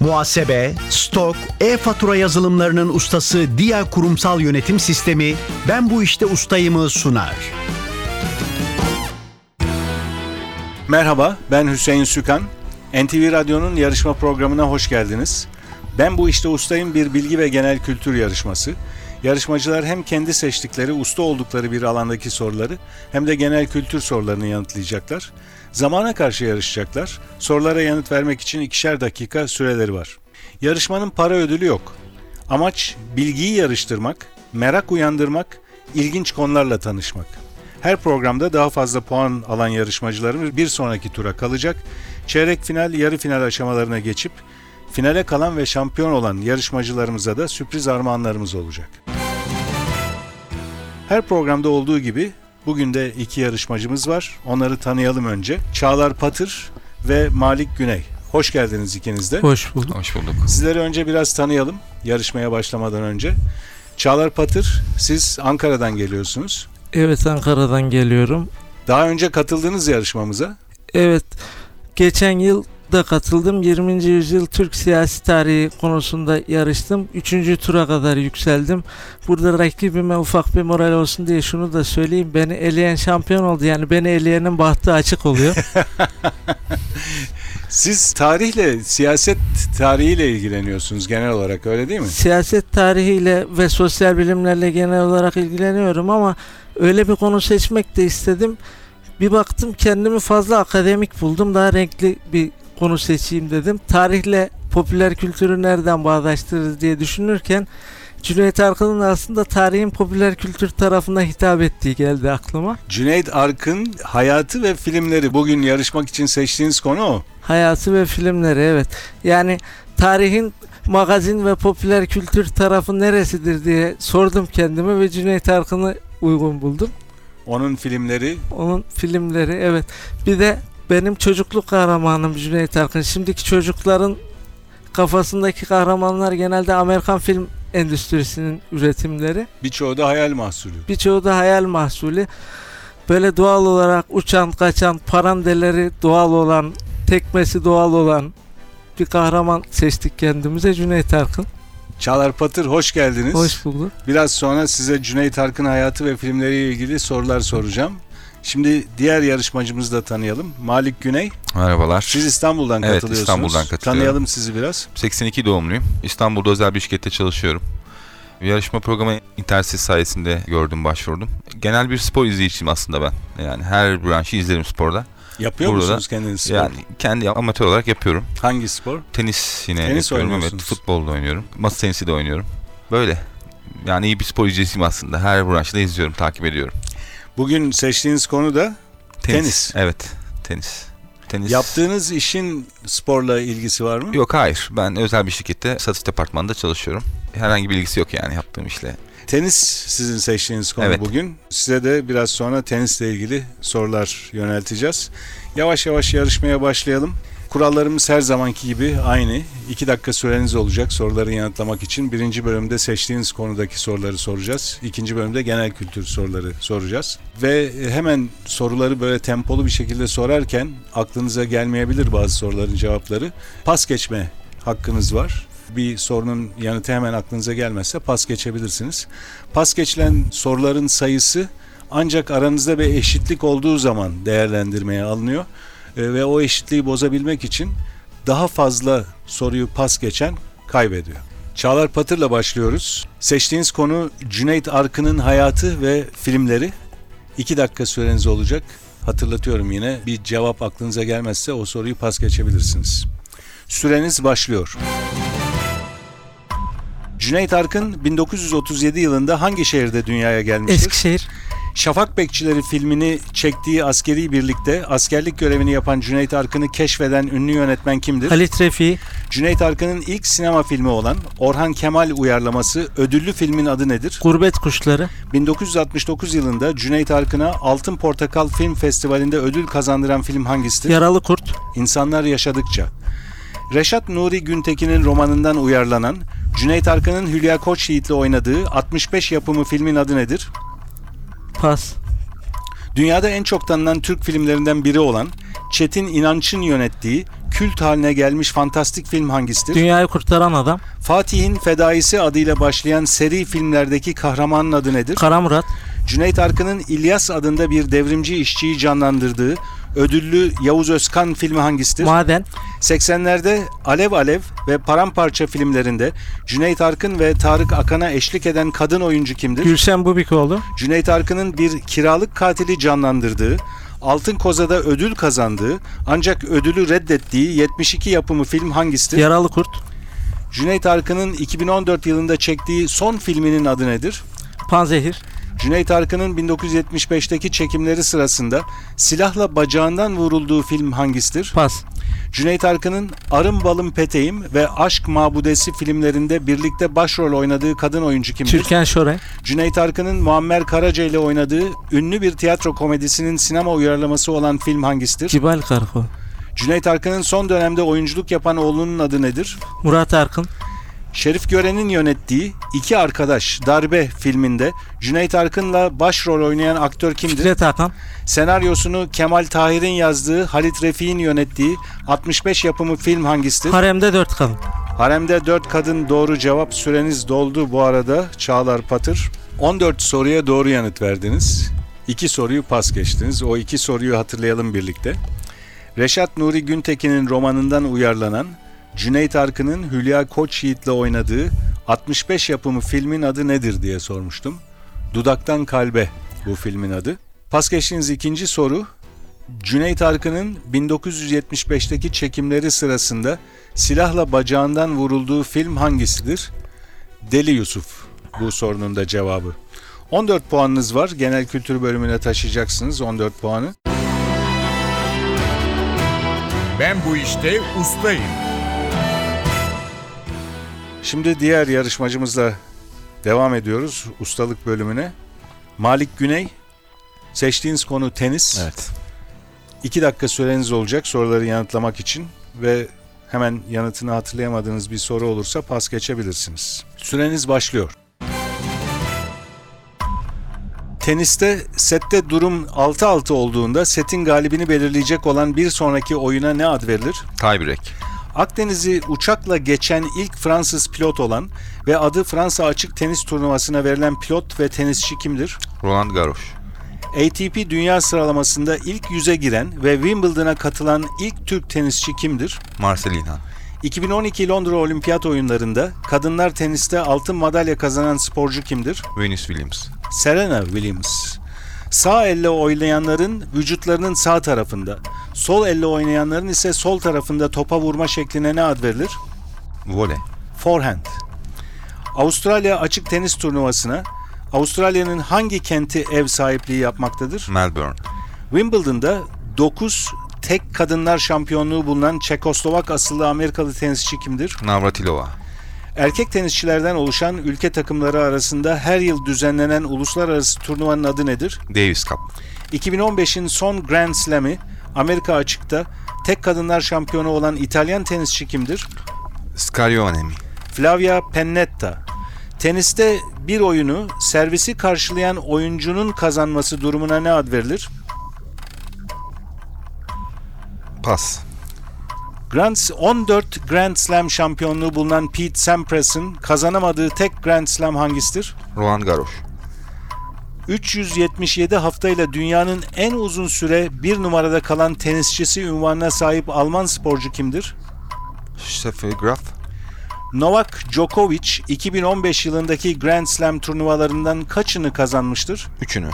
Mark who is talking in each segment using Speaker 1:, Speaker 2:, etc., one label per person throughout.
Speaker 1: muhasebe, stok, e-fatura yazılımlarının ustası Dia Kurumsal Yönetim Sistemi Ben Bu İşte Ustayım'ı sunar.
Speaker 2: Merhaba, ben Hüseyin Sükan. NTV Radyo'nun yarışma programına hoş geldiniz. Ben bu işte ustayım bir bilgi ve genel kültür yarışması. Yarışmacılar hem kendi seçtikleri, usta oldukları bir alandaki soruları hem de genel kültür sorularını yanıtlayacaklar. Zamana karşı yarışacaklar. Sorulara yanıt vermek için ikişer dakika süreleri var. Yarışmanın para ödülü yok. Amaç bilgiyi yarıştırmak, merak uyandırmak, ilginç konularla tanışmak. Her programda daha fazla puan alan yarışmacılarımız bir sonraki tura kalacak. Çeyrek final, yarı final aşamalarına geçip finale kalan ve şampiyon olan yarışmacılarımıza da sürpriz armağanlarımız olacak. Her programda olduğu gibi bugün de iki yarışmacımız var. Onları tanıyalım önce. Çağlar Patır ve Malik Güney. Hoş geldiniz ikiniz de.
Speaker 3: Hoş bulduk.
Speaker 4: Hoş bulduk.
Speaker 2: Sizleri önce biraz tanıyalım yarışmaya başlamadan önce. Çağlar Patır, siz Ankara'dan geliyorsunuz.
Speaker 3: Evet Ankara'dan geliyorum.
Speaker 2: Daha önce katıldığınız yarışmamıza.
Speaker 3: Evet geçen yıl da katıldım. 20. yüzyıl Türk siyasi tarihi konusunda yarıştım. 3. tura kadar yükseldim. Burada rakibime ufak bir moral olsun diye şunu da söyleyeyim. Beni eleyen şampiyon oldu. Yani beni eleyenin bahtı açık oluyor.
Speaker 2: Siz tarihle, siyaset tarihiyle ilgileniyorsunuz genel olarak öyle değil mi?
Speaker 3: Siyaset tarihiyle ve sosyal bilimlerle genel olarak ilgileniyorum ama öyle bir konu seçmek de istedim. Bir baktım kendimi fazla akademik buldum. Daha renkli bir konu seçeyim dedim. Tarihle popüler kültürü nereden bağdaştırırız diye düşünürken Cüneyt Arkın'ın aslında tarihin popüler kültür tarafına hitap ettiği geldi aklıma.
Speaker 2: Cüneyt Arkın hayatı ve filmleri bugün yarışmak için seçtiğiniz konu o.
Speaker 3: Hayatı ve filmleri evet. Yani tarihin magazin ve popüler kültür tarafı neresidir diye sordum kendime ve Cüneyt Arkın'ı uygun buldum.
Speaker 2: Onun filmleri
Speaker 3: Onun filmleri evet. Bir de benim çocukluk kahramanım Cüneyt Arkın. Şimdiki çocukların kafasındaki kahramanlar genelde Amerikan film endüstrisinin üretimleri.
Speaker 2: birçoğu da hayal mahsulü.
Speaker 3: Birçoğu da hayal mahsulü. Böyle doğal olarak uçan, kaçan, parandeleri doğal olan, tekmesi doğal olan bir kahraman seçtik kendimize Cüneyt Arkın.
Speaker 2: Çağlar Patır hoş geldiniz.
Speaker 3: Hoş bulduk.
Speaker 2: Biraz sonra size Cüneyt Arkın hayatı ve filmleriyle ilgili sorular soracağım. Şimdi diğer yarışmacımızı da tanıyalım. Malik Güney,
Speaker 4: Merhalar.
Speaker 2: siz İstanbul'dan
Speaker 4: Evet,
Speaker 2: katılıyorsunuz.
Speaker 4: İstanbul'dan katılıyorum.
Speaker 2: Tanıyalım sizi biraz.
Speaker 4: 82 doğumluyum. İstanbul'da özel bir şirkette çalışıyorum. Yarışma programı internet sayesinde gördüm, başvurdum. Genel bir spor izleyicisiyim aslında ben. Yani her branşı izlerim sporda.
Speaker 2: Yapıyor
Speaker 4: Burada.
Speaker 2: musunuz kendiniz spor?
Speaker 4: Yani kendi amatör olarak yapıyorum.
Speaker 2: Hangi spor?
Speaker 4: Tenis yine
Speaker 2: Tenis
Speaker 4: yapıyorum. Evet,
Speaker 2: oynuyorsunuz.
Speaker 4: futbolda oynuyorum. Masa tenisi de oynuyorum. Böyle. Yani iyi bir spor izleyicisiyim aslında. Her branşta izliyorum, takip ediyorum.
Speaker 2: Bugün seçtiğiniz konu da Tenis.
Speaker 4: Evet, tenis. Tenis.
Speaker 2: Yaptığınız işin sporla ilgisi var mı?
Speaker 4: Yok hayır. Ben özel bir şirkette satış departmanında çalışıyorum. Herhangi bir ilgisi yok yani yaptığım işle.
Speaker 2: Tenis sizin seçtiğiniz konu
Speaker 4: Evet.
Speaker 2: bugün. Size de biraz sonra tenisle ilgili sorular yönelteceğiz. Yavaş yavaş yarışmaya başlayalım. Kurallarımız her zamanki gibi aynı. 2 dakika süreniz olacak soruları yanıtlamak için. Birinci bölümde seçtiğiniz konudaki soruları soracağız. İkinci bölümde genel kültür soruları soracağız. Ve hemen soruları böyle tempolu bir şekilde sorarken aklınıza gelmeyebilir bazı soruların cevapları. Pas geçme hakkınız var. Bir sorunun yanıtı hemen aklınıza gelmezse pas geçebilirsiniz. Pas geçilen soruların sayısı ancak aranızda bir eşitlik olduğu zaman değerlendirmeye alınıyor. E, ve o eşitliği bozabilmek için daha fazla soruyu pas geçen kaybediyor. Çağlar Patır'la başlıyoruz. Seçtiğiniz konu Cüneyt Arkın'ın hayatı ve filmleri. İki dakika süreniz olacak. Hatırlatıyorum yine bir cevap aklınıza gelmezse o soruyu pas geçebilirsiniz. Süreniz başlıyor. Cüneyt Arkın 1937 yılında hangi şehirde dünyaya gelmiştir?
Speaker 3: Eskişehir.
Speaker 2: Şafak Bekçileri filmini çektiği askeri birlikte askerlik görevini yapan Cüneyt Arkın'ı keşfeden ünlü yönetmen kimdir?
Speaker 3: Halit Refi.
Speaker 2: Cüneyt Arkın'ın ilk sinema filmi olan Orhan Kemal uyarlaması ödüllü filmin adı nedir?
Speaker 3: Gurbet Kuşları.
Speaker 2: 1969 yılında Cüneyt Arkın'a Altın Portakal Film Festivali'nde ödül kazandıran film hangisidir?
Speaker 3: Yaralı Kurt.
Speaker 2: İnsanlar Yaşadıkça. Reşat Nuri Güntekin'in romanından uyarlanan, Cüneyt Arkın'ın Hülya Koçyiğit'le oynadığı 65 yapımı filmin adı nedir?
Speaker 3: Pas.
Speaker 2: Dünyada en çok tanınan Türk filmlerinden biri olan Çetin İnanç'ın yönettiği kült haline gelmiş fantastik film hangisidir?
Speaker 3: Dünyayı kurtaran adam.
Speaker 2: Fatih'in Fedaisi adıyla başlayan seri filmlerdeki kahramanın adı nedir?
Speaker 3: Kara Murat.
Speaker 2: Cüneyt Arkın'ın İlyas adında bir devrimci işçiyi canlandırdığı ödüllü Yavuz Özkan filmi hangisidir?
Speaker 3: Maden.
Speaker 2: 80'lerde Alev Alev ve Paramparça filmlerinde Cüneyt Arkın ve Tarık Akan'a eşlik eden kadın oyuncu kimdir?
Speaker 3: Gülşen Bubikoğlu.
Speaker 2: Cüneyt Arkın'ın bir kiralık katili canlandırdığı, Altın Koza'da ödül kazandığı ancak ödülü reddettiği 72 yapımı film hangisidir?
Speaker 3: Yaralı Kurt.
Speaker 2: Cüneyt Arkın'ın 2014 yılında çektiği son filminin adı nedir?
Speaker 3: Panzehir.
Speaker 2: Cüneyt Arkın'ın 1975'teki çekimleri sırasında silahla bacağından vurulduğu film hangisidir?
Speaker 3: Pas.
Speaker 2: Cüneyt Arkın'ın Arım Balım Peteğim ve Aşk Mabudesi filmlerinde birlikte başrol oynadığı kadın oyuncu kimdir?
Speaker 3: Türkan Şoray.
Speaker 2: Cüneyt Arkın'ın Muammer Karaca ile oynadığı ünlü bir tiyatro komedisinin sinema uyarlaması olan film hangisidir?
Speaker 3: Cibal Karko.
Speaker 2: Cüneyt Arkın'ın son dönemde oyunculuk yapan oğlunun adı nedir?
Speaker 3: Murat Arkın.
Speaker 2: Şerif Gören'in yönettiği İki Arkadaş Darbe filminde Cüneyt Arkın'la başrol oynayan aktör kimdir?
Speaker 3: Fikret Hakan.
Speaker 2: Senaryosunu Kemal Tahir'in yazdığı, Halit Refik'in yönettiği 65 yapımı film hangisidir?
Speaker 3: Haremde dört kadın.
Speaker 2: Haremde 4 kadın doğru cevap süreniz doldu bu arada Çağlar Patır. 14 soruya doğru yanıt verdiniz. 2 soruyu pas geçtiniz. O 2 soruyu hatırlayalım birlikte. Reşat Nuri Güntekin'in romanından uyarlanan Cüneyt Arkın'ın Hülya Koçyiğit'le oynadığı 65 yapımı filmin adı nedir diye sormuştum. Dudaktan Kalbe bu filmin adı. Pas geçtiğiniz ikinci soru Cüneyt Arkın'ın 1975'teki çekimleri sırasında silahla bacağından vurulduğu film hangisidir? Deli Yusuf bu sorunun da cevabı. 14 puanınız var. Genel kültür bölümüne taşıyacaksınız 14 puanı.
Speaker 5: Ben bu işte ustayım.
Speaker 2: Şimdi diğer yarışmacımızla devam ediyoruz ustalık bölümüne. Malik Güney seçtiğiniz konu tenis.
Speaker 4: Evet.
Speaker 2: 2 dakika süreniz olacak soruları yanıtlamak için ve hemen yanıtını hatırlayamadığınız bir soru olursa pas geçebilirsiniz. Süreniz başlıyor. Teniste sette durum 6-6 olduğunda setin galibini belirleyecek olan bir sonraki oyuna ne ad verilir?
Speaker 4: Tiebreak.
Speaker 2: Akdeniz'i uçakla geçen ilk Fransız pilot olan ve adı Fransa Açık Tenis Turnuvası'na verilen pilot ve tenisçi kimdir?
Speaker 4: Roland Garros.
Speaker 2: ATP dünya sıralamasında ilk yüze giren ve Wimbledon'a katılan ilk Türk tenisçi kimdir?
Speaker 4: Marcel İlhan.
Speaker 2: 2012 Londra Olimpiyat Oyunları'nda kadınlar teniste altın madalya kazanan sporcu kimdir?
Speaker 4: Venus Williams.
Speaker 2: Serena Williams. Sağ elle oynayanların vücutlarının sağ tarafında, sol elle oynayanların ise sol tarafında topa vurma şekline ne ad verilir?
Speaker 4: Voley.
Speaker 2: Forehand. Avustralya Açık Tenis Turnuvası'na Avustralya'nın hangi kenti ev sahipliği yapmaktadır?
Speaker 4: Melbourne.
Speaker 2: Wimbledon'da 9 tek kadınlar şampiyonluğu bulunan Çekoslovak asıllı Amerikalı tenisçi kimdir?
Speaker 4: Navratilova.
Speaker 2: Erkek tenisçilerden oluşan ülke takımları arasında her yıl düzenlenen uluslararası turnuvanın adı nedir?
Speaker 4: Davis Cup.
Speaker 2: 2015'in son Grand Slam'i Amerika açıkta tek kadınlar şampiyonu olan İtalyan tenisçi kimdir?
Speaker 4: Scarione mi?
Speaker 2: Flavia Pennetta. Teniste bir oyunu servisi karşılayan oyuncunun kazanması durumuna ne ad verilir?
Speaker 4: Pas.
Speaker 2: Grand 14 Grand Slam şampiyonluğu bulunan Pete Sampras'ın kazanamadığı tek Grand Slam hangisidir?
Speaker 4: Roland Garros.
Speaker 2: 377 haftayla dünyanın en uzun süre bir numarada kalan tenisçisi unvanına sahip Alman sporcu kimdir?
Speaker 4: Steffi Graf.
Speaker 2: Novak Djokovic 2015 yılındaki Grand Slam turnuvalarından kaçını kazanmıştır?
Speaker 4: Üçünü.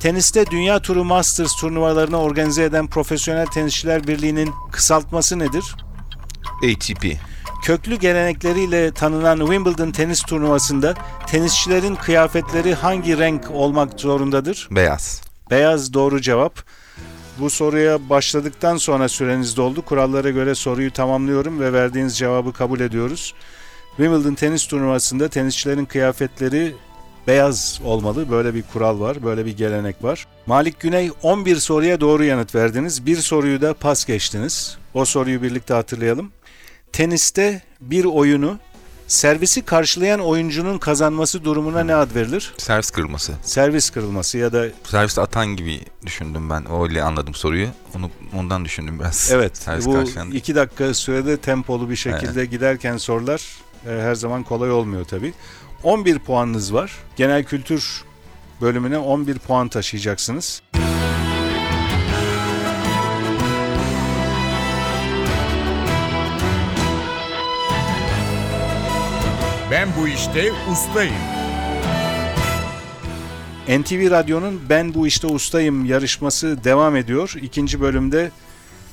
Speaker 2: Teniste Dünya Turu Masters turnuvalarını organize eden Profesyonel Tenisçiler Birliği'nin kısaltması nedir?
Speaker 4: ATP.
Speaker 2: Köklü gelenekleriyle tanınan Wimbledon tenis turnuvasında tenisçilerin kıyafetleri hangi renk olmak zorundadır?
Speaker 4: Beyaz.
Speaker 2: Beyaz doğru cevap. Bu soruya başladıktan sonra süreniz doldu. Kurallara göre soruyu tamamlıyorum ve verdiğiniz cevabı kabul ediyoruz. Wimbledon tenis turnuvasında tenisçilerin kıyafetleri beyaz olmalı. Böyle bir kural var, böyle bir gelenek var. Malik Güney 11 soruya doğru yanıt verdiniz. Bir soruyu da pas geçtiniz. O soruyu birlikte hatırlayalım. Teniste bir oyunu Servisi karşılayan oyuncunun kazanması durumuna ne ad verilir?
Speaker 4: Servis kırılması.
Speaker 2: Servis kırılması ya da
Speaker 4: Serviste atan gibi düşündüm ben. Öyle anladım soruyu. Onu ondan düşündüm biraz.
Speaker 2: evet
Speaker 4: Servis
Speaker 2: bu
Speaker 4: karşılandı.
Speaker 2: iki dakika sürede tempolu bir şekilde giderken sorular e, her zaman kolay olmuyor tabii. 11 puanınız var. Genel kültür bölümüne 11 puan taşıyacaksınız.
Speaker 5: Ben bu işte ustayım.
Speaker 2: NTV Radyo'nun Ben Bu İşte Ustayım yarışması devam ediyor. İkinci bölümde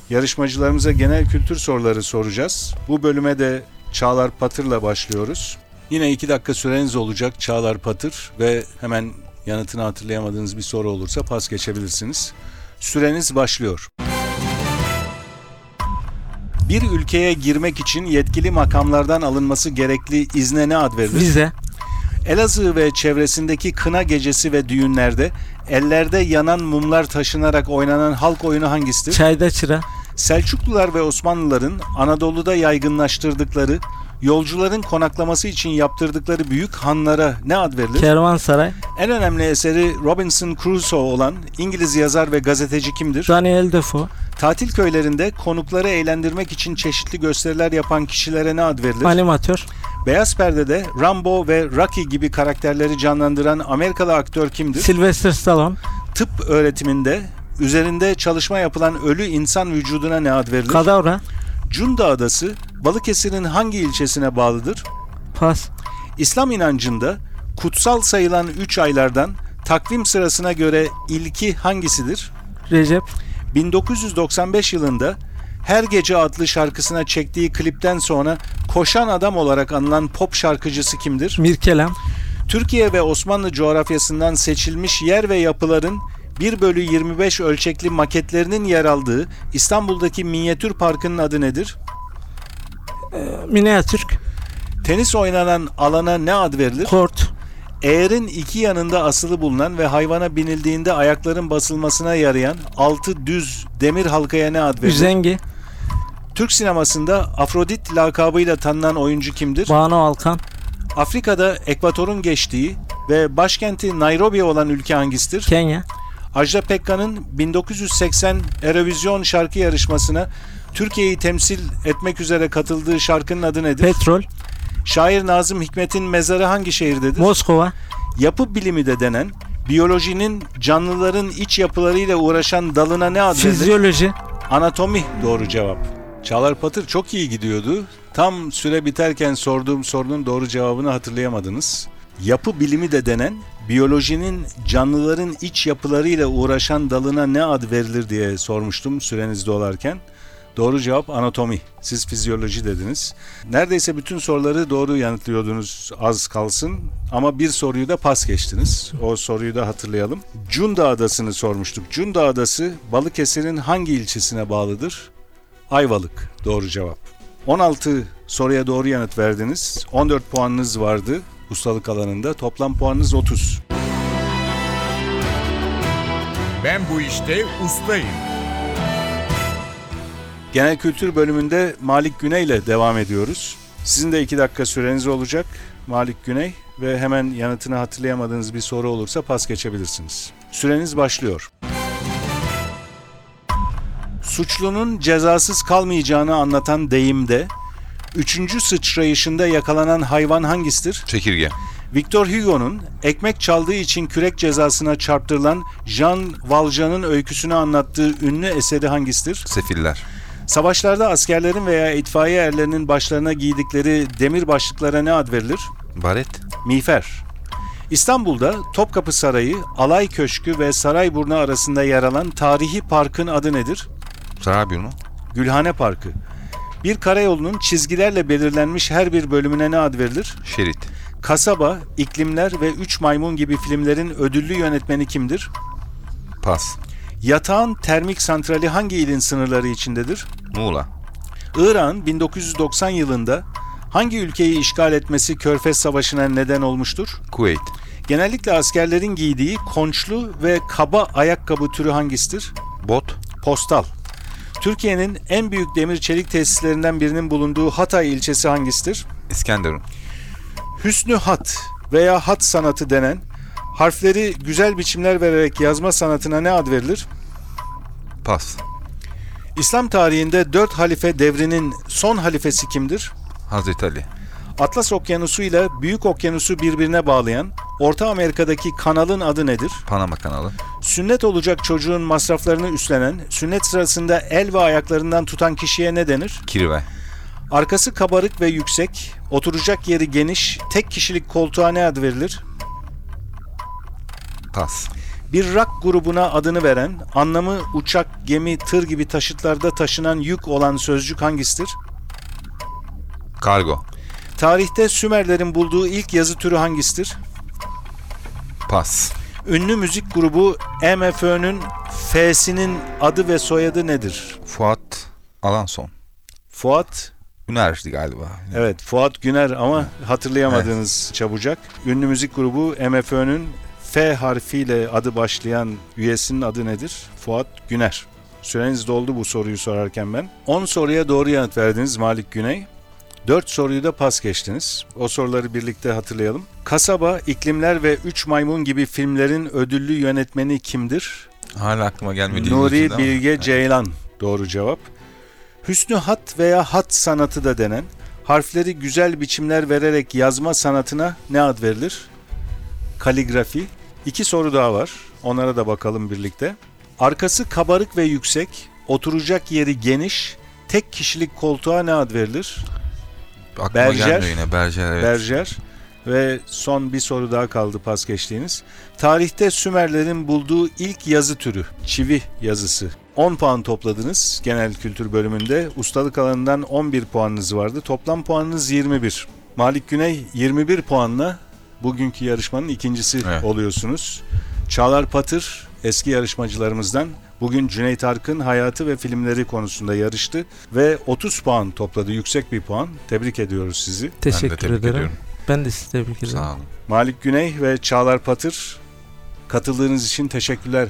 Speaker 2: yarışmacılarımıza genel kültür soruları soracağız. Bu bölüme de Çağlar Patır'la başlıyoruz. Yine iki dakika süreniz olacak Çağlar Patır ve hemen yanıtını hatırlayamadığınız bir soru olursa pas geçebilirsiniz. Süreniz başlıyor. Bir ülkeye girmek için yetkili makamlardan alınması gerekli izne ne ad verilir?
Speaker 3: Vize.
Speaker 2: Elazığ ve çevresindeki kına gecesi ve düğünlerde ellerde yanan mumlar taşınarak oynanan halk oyunu hangisidir?
Speaker 3: Çayda çıra.
Speaker 2: Selçuklular ve Osmanlıların Anadolu'da yaygınlaştırdıkları, yolcuların konaklaması için yaptırdıkları büyük hanlara ne ad verilir?
Speaker 3: Kervansaray.
Speaker 2: en önemli eseri Robinson Crusoe olan İngiliz yazar ve gazeteci kimdir?
Speaker 3: Daniel Defoe.
Speaker 2: Tatil köylerinde konukları eğlendirmek için çeşitli gösteriler yapan kişilere ne ad verilir?
Speaker 3: Animatör.
Speaker 2: Beyaz perdede Rambo ve Rocky gibi karakterleri canlandıran Amerikalı aktör kimdir?
Speaker 3: Sylvester Stallone.
Speaker 2: Tıp öğretiminde üzerinde çalışma yapılan ölü insan vücuduna ne ad verilir?
Speaker 3: Kadavra.
Speaker 2: Cunda Adası Balıkesir'in hangi ilçesine bağlıdır?
Speaker 3: Pas.
Speaker 2: İslam inancında kutsal sayılan 3 aylardan takvim sırasına göre ilki hangisidir?
Speaker 3: Recep.
Speaker 2: 1995 yılında Her Gece adlı şarkısına çektiği klipten sonra koşan adam olarak anılan pop şarkıcısı kimdir?
Speaker 3: Mirkelem.
Speaker 2: Türkiye ve Osmanlı coğrafyasından seçilmiş yer ve yapıların 1 bölü 25 ölçekli maketlerinin yer aldığı İstanbul'daki minyatür parkının adı nedir?
Speaker 3: Miniatürk.
Speaker 2: Tenis oynanan alana ne ad verilir?
Speaker 3: Kort.
Speaker 2: Eğerin iki yanında asılı bulunan ve hayvana binildiğinde ayakların basılmasına yarayan altı düz demir halkaya ne ad verilir?
Speaker 3: Üzengi.
Speaker 2: Türk sinemasında Afrodit lakabıyla tanınan oyuncu kimdir?
Speaker 3: Banu Alkan.
Speaker 2: Afrika'da ekvatorun geçtiği ve başkenti Nairobi olan ülke hangisidir?
Speaker 3: Kenya.
Speaker 2: Ajda Pekkan'ın 1980 Eurovision şarkı yarışmasına Türkiye'yi temsil etmek üzere katıldığı şarkının adı nedir?
Speaker 3: Petrol.
Speaker 2: Şair Nazım Hikmet'in mezarı hangi şehirdedir?
Speaker 3: Moskova.
Speaker 2: Yapı bilimi de denen biyolojinin canlıların iç yapılarıyla uğraşan dalına ne ad verilir?
Speaker 3: Fizyoloji.
Speaker 2: Anatomi doğru cevap. Çağlar Patır çok iyi gidiyordu. Tam süre biterken sorduğum sorunun doğru cevabını hatırlayamadınız. Yapı bilimi de denen biyolojinin canlıların iç yapılarıyla uğraşan dalına ne ad verilir diye sormuştum süreniz dolarken. Doğru cevap anatomi. Siz fizyoloji dediniz. Neredeyse bütün soruları doğru yanıtlıyordunuz az kalsın ama bir soruyu da pas geçtiniz. O soruyu da hatırlayalım. Cunda Adası'nı sormuştuk. Cunda Adası Balıkesir'in hangi ilçesine bağlıdır? Ayvalık. Doğru cevap. 16 soruya doğru yanıt verdiniz. 14 puanınız vardı ustalık alanında. Toplam puanınız 30.
Speaker 5: Ben bu işte ustayım.
Speaker 2: Genel kültür bölümünde Malik Güney ile devam ediyoruz. Sizin de iki dakika süreniz olacak Malik Güney ve hemen yanıtını hatırlayamadığınız bir soru olursa pas geçebilirsiniz. Süreniz başlıyor. Suçlunun cezasız kalmayacağını anlatan deyimde üçüncü sıçrayışında yakalanan hayvan hangisidir?
Speaker 4: Çekirge.
Speaker 2: Victor Hugo'nun ekmek çaldığı için kürek cezasına çarptırılan Jean Valjean'ın öyküsünü anlattığı ünlü eseri hangisidir?
Speaker 4: Sefiller.
Speaker 2: Savaşlarda askerlerin veya itfaiye erlerinin başlarına giydikleri demir başlıklara ne ad verilir?
Speaker 4: Baret.
Speaker 2: Miğfer. İstanbul'da Topkapı Sarayı, Alay Köşkü ve Sarayburnu arasında yer alan tarihi parkın adı nedir?
Speaker 4: Sarabiyonu.
Speaker 2: Gülhane Parkı. Bir karayolunun çizgilerle belirlenmiş her bir bölümüne ne ad verilir?
Speaker 4: Şerit.
Speaker 2: Kasaba, İklimler ve Üç Maymun gibi filmlerin ödüllü yönetmeni kimdir?
Speaker 4: Pas.
Speaker 2: Yatağın termik santrali hangi ilin sınırları içindedir?
Speaker 4: Muğla.
Speaker 2: İran 1990 yılında hangi ülkeyi işgal etmesi Körfez Savaşı'na neden olmuştur?
Speaker 4: Kuveyt.
Speaker 2: Genellikle askerlerin giydiği konçlu ve kaba ayakkabı türü hangisidir?
Speaker 4: Bot.
Speaker 2: Postal. Türkiye'nin en büyük demir çelik tesislerinden birinin bulunduğu Hatay ilçesi hangisidir?
Speaker 4: İskenderun.
Speaker 2: Hüsnü hat veya hat sanatı denen harfleri güzel biçimler vererek yazma sanatına ne ad verilir?
Speaker 4: Pas.
Speaker 2: İslam tarihinde 4 halife devrinin son halifesi kimdir?
Speaker 4: Hazreti Ali.
Speaker 2: Atlas Okyanusu ile Büyük Okyanusu birbirine bağlayan Orta Amerika'daki kanalın adı nedir?
Speaker 4: Panama kanalı.
Speaker 2: Sünnet olacak çocuğun masraflarını üstlenen, sünnet sırasında el ve ayaklarından tutan kişiye ne denir?
Speaker 4: Kirve.
Speaker 2: Arkası kabarık ve yüksek, oturacak yeri geniş, tek kişilik koltuğa ne ad verilir?
Speaker 4: Pas.
Speaker 2: Bir rak grubuna adını veren, anlamı uçak, gemi, tır gibi taşıtlarda taşınan yük olan sözcük hangisidir?
Speaker 4: Kargo.
Speaker 2: Tarihte Sümerlerin bulduğu ilk yazı türü hangisidir?
Speaker 4: Pas.
Speaker 2: Ünlü müzik grubu MFÖ'nün F'sinin adı ve soyadı nedir?
Speaker 4: Fuat Alanson.
Speaker 2: Fuat,
Speaker 4: Ünerdi galiba.
Speaker 2: evet Fuat Güner ama hatırlayamadığınız çabucak. Ünlü müzik grubu MFÖ'nün F harfiyle adı başlayan üyesinin adı nedir? Fuat Güner. Süreniz doldu bu soruyu sorarken ben. 10 soruya doğru yanıt verdiniz Malik Güney. 4 soruyu da pas geçtiniz. O soruları birlikte hatırlayalım. Kasaba, İklimler ve 3 Maymun gibi filmlerin ödüllü yönetmeni kimdir?
Speaker 4: Hala aklıma gelmedi.
Speaker 2: Nuri
Speaker 4: İngilizce'de ama.
Speaker 2: Bilge Ceylan doğru cevap. Hüsnü hat veya hat sanatı da denen harfleri güzel biçimler vererek yazma sanatına ne ad verilir? Kaligrafi. İki soru daha var. Onlara da bakalım birlikte. Arkası kabarık ve yüksek, oturacak yeri geniş, tek kişilik koltuğa ne ad verilir?
Speaker 4: Aklıma
Speaker 2: Berger.
Speaker 4: gelmiyor yine. Berger evet.
Speaker 2: Berger. Ve son bir soru daha kaldı pas geçtiğiniz. Tarihte Sümerlerin bulduğu ilk yazı türü, çivi yazısı. 10 puan topladınız genel kültür bölümünde. Ustalık alanından 11 puanınız vardı. Toplam puanınız 21. Malik Güney 21 puanla bugünkü yarışmanın ikincisi
Speaker 4: Evet.
Speaker 2: oluyorsunuz. Çağlar Patır eski yarışmacılarımızdan bugün Cüneyt Arkın hayatı ve filmleri konusunda yarıştı ve 30 puan topladı. Yüksek bir puan. Tebrik ediyoruz sizi.
Speaker 4: ben de
Speaker 3: Teşekkür
Speaker 4: tebrik
Speaker 3: ederim.
Speaker 4: ediyorum.
Speaker 3: Ben de size tebrik ederim.
Speaker 4: Sağ olun.
Speaker 2: Malik Güney ve Çağlar Patır katıldığınız için teşekkürler.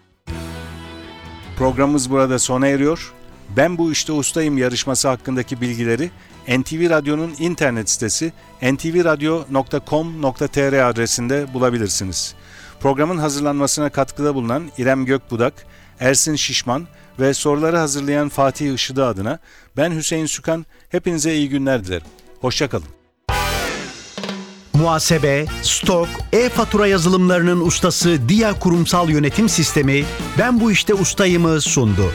Speaker 2: Programımız burada sona eriyor. Ben bu işte ustayım yarışması hakkındaki bilgileri NTV Radyo'nun internet sitesi ntvradyo.com.tr adresinde bulabilirsiniz. Programın hazırlanmasına katkıda bulunan İrem Gökbudak, Ersin Şişman ve soruları hazırlayan Fatih Işıdı adına ben Hüseyin Sükan hepinize iyi günler dilerim. Hoşçakalın.
Speaker 1: Muhasebe, stok, e-fatura yazılımlarının ustası Dia Kurumsal Yönetim Sistemi Ben Bu İşte Ustayım'ı sundu.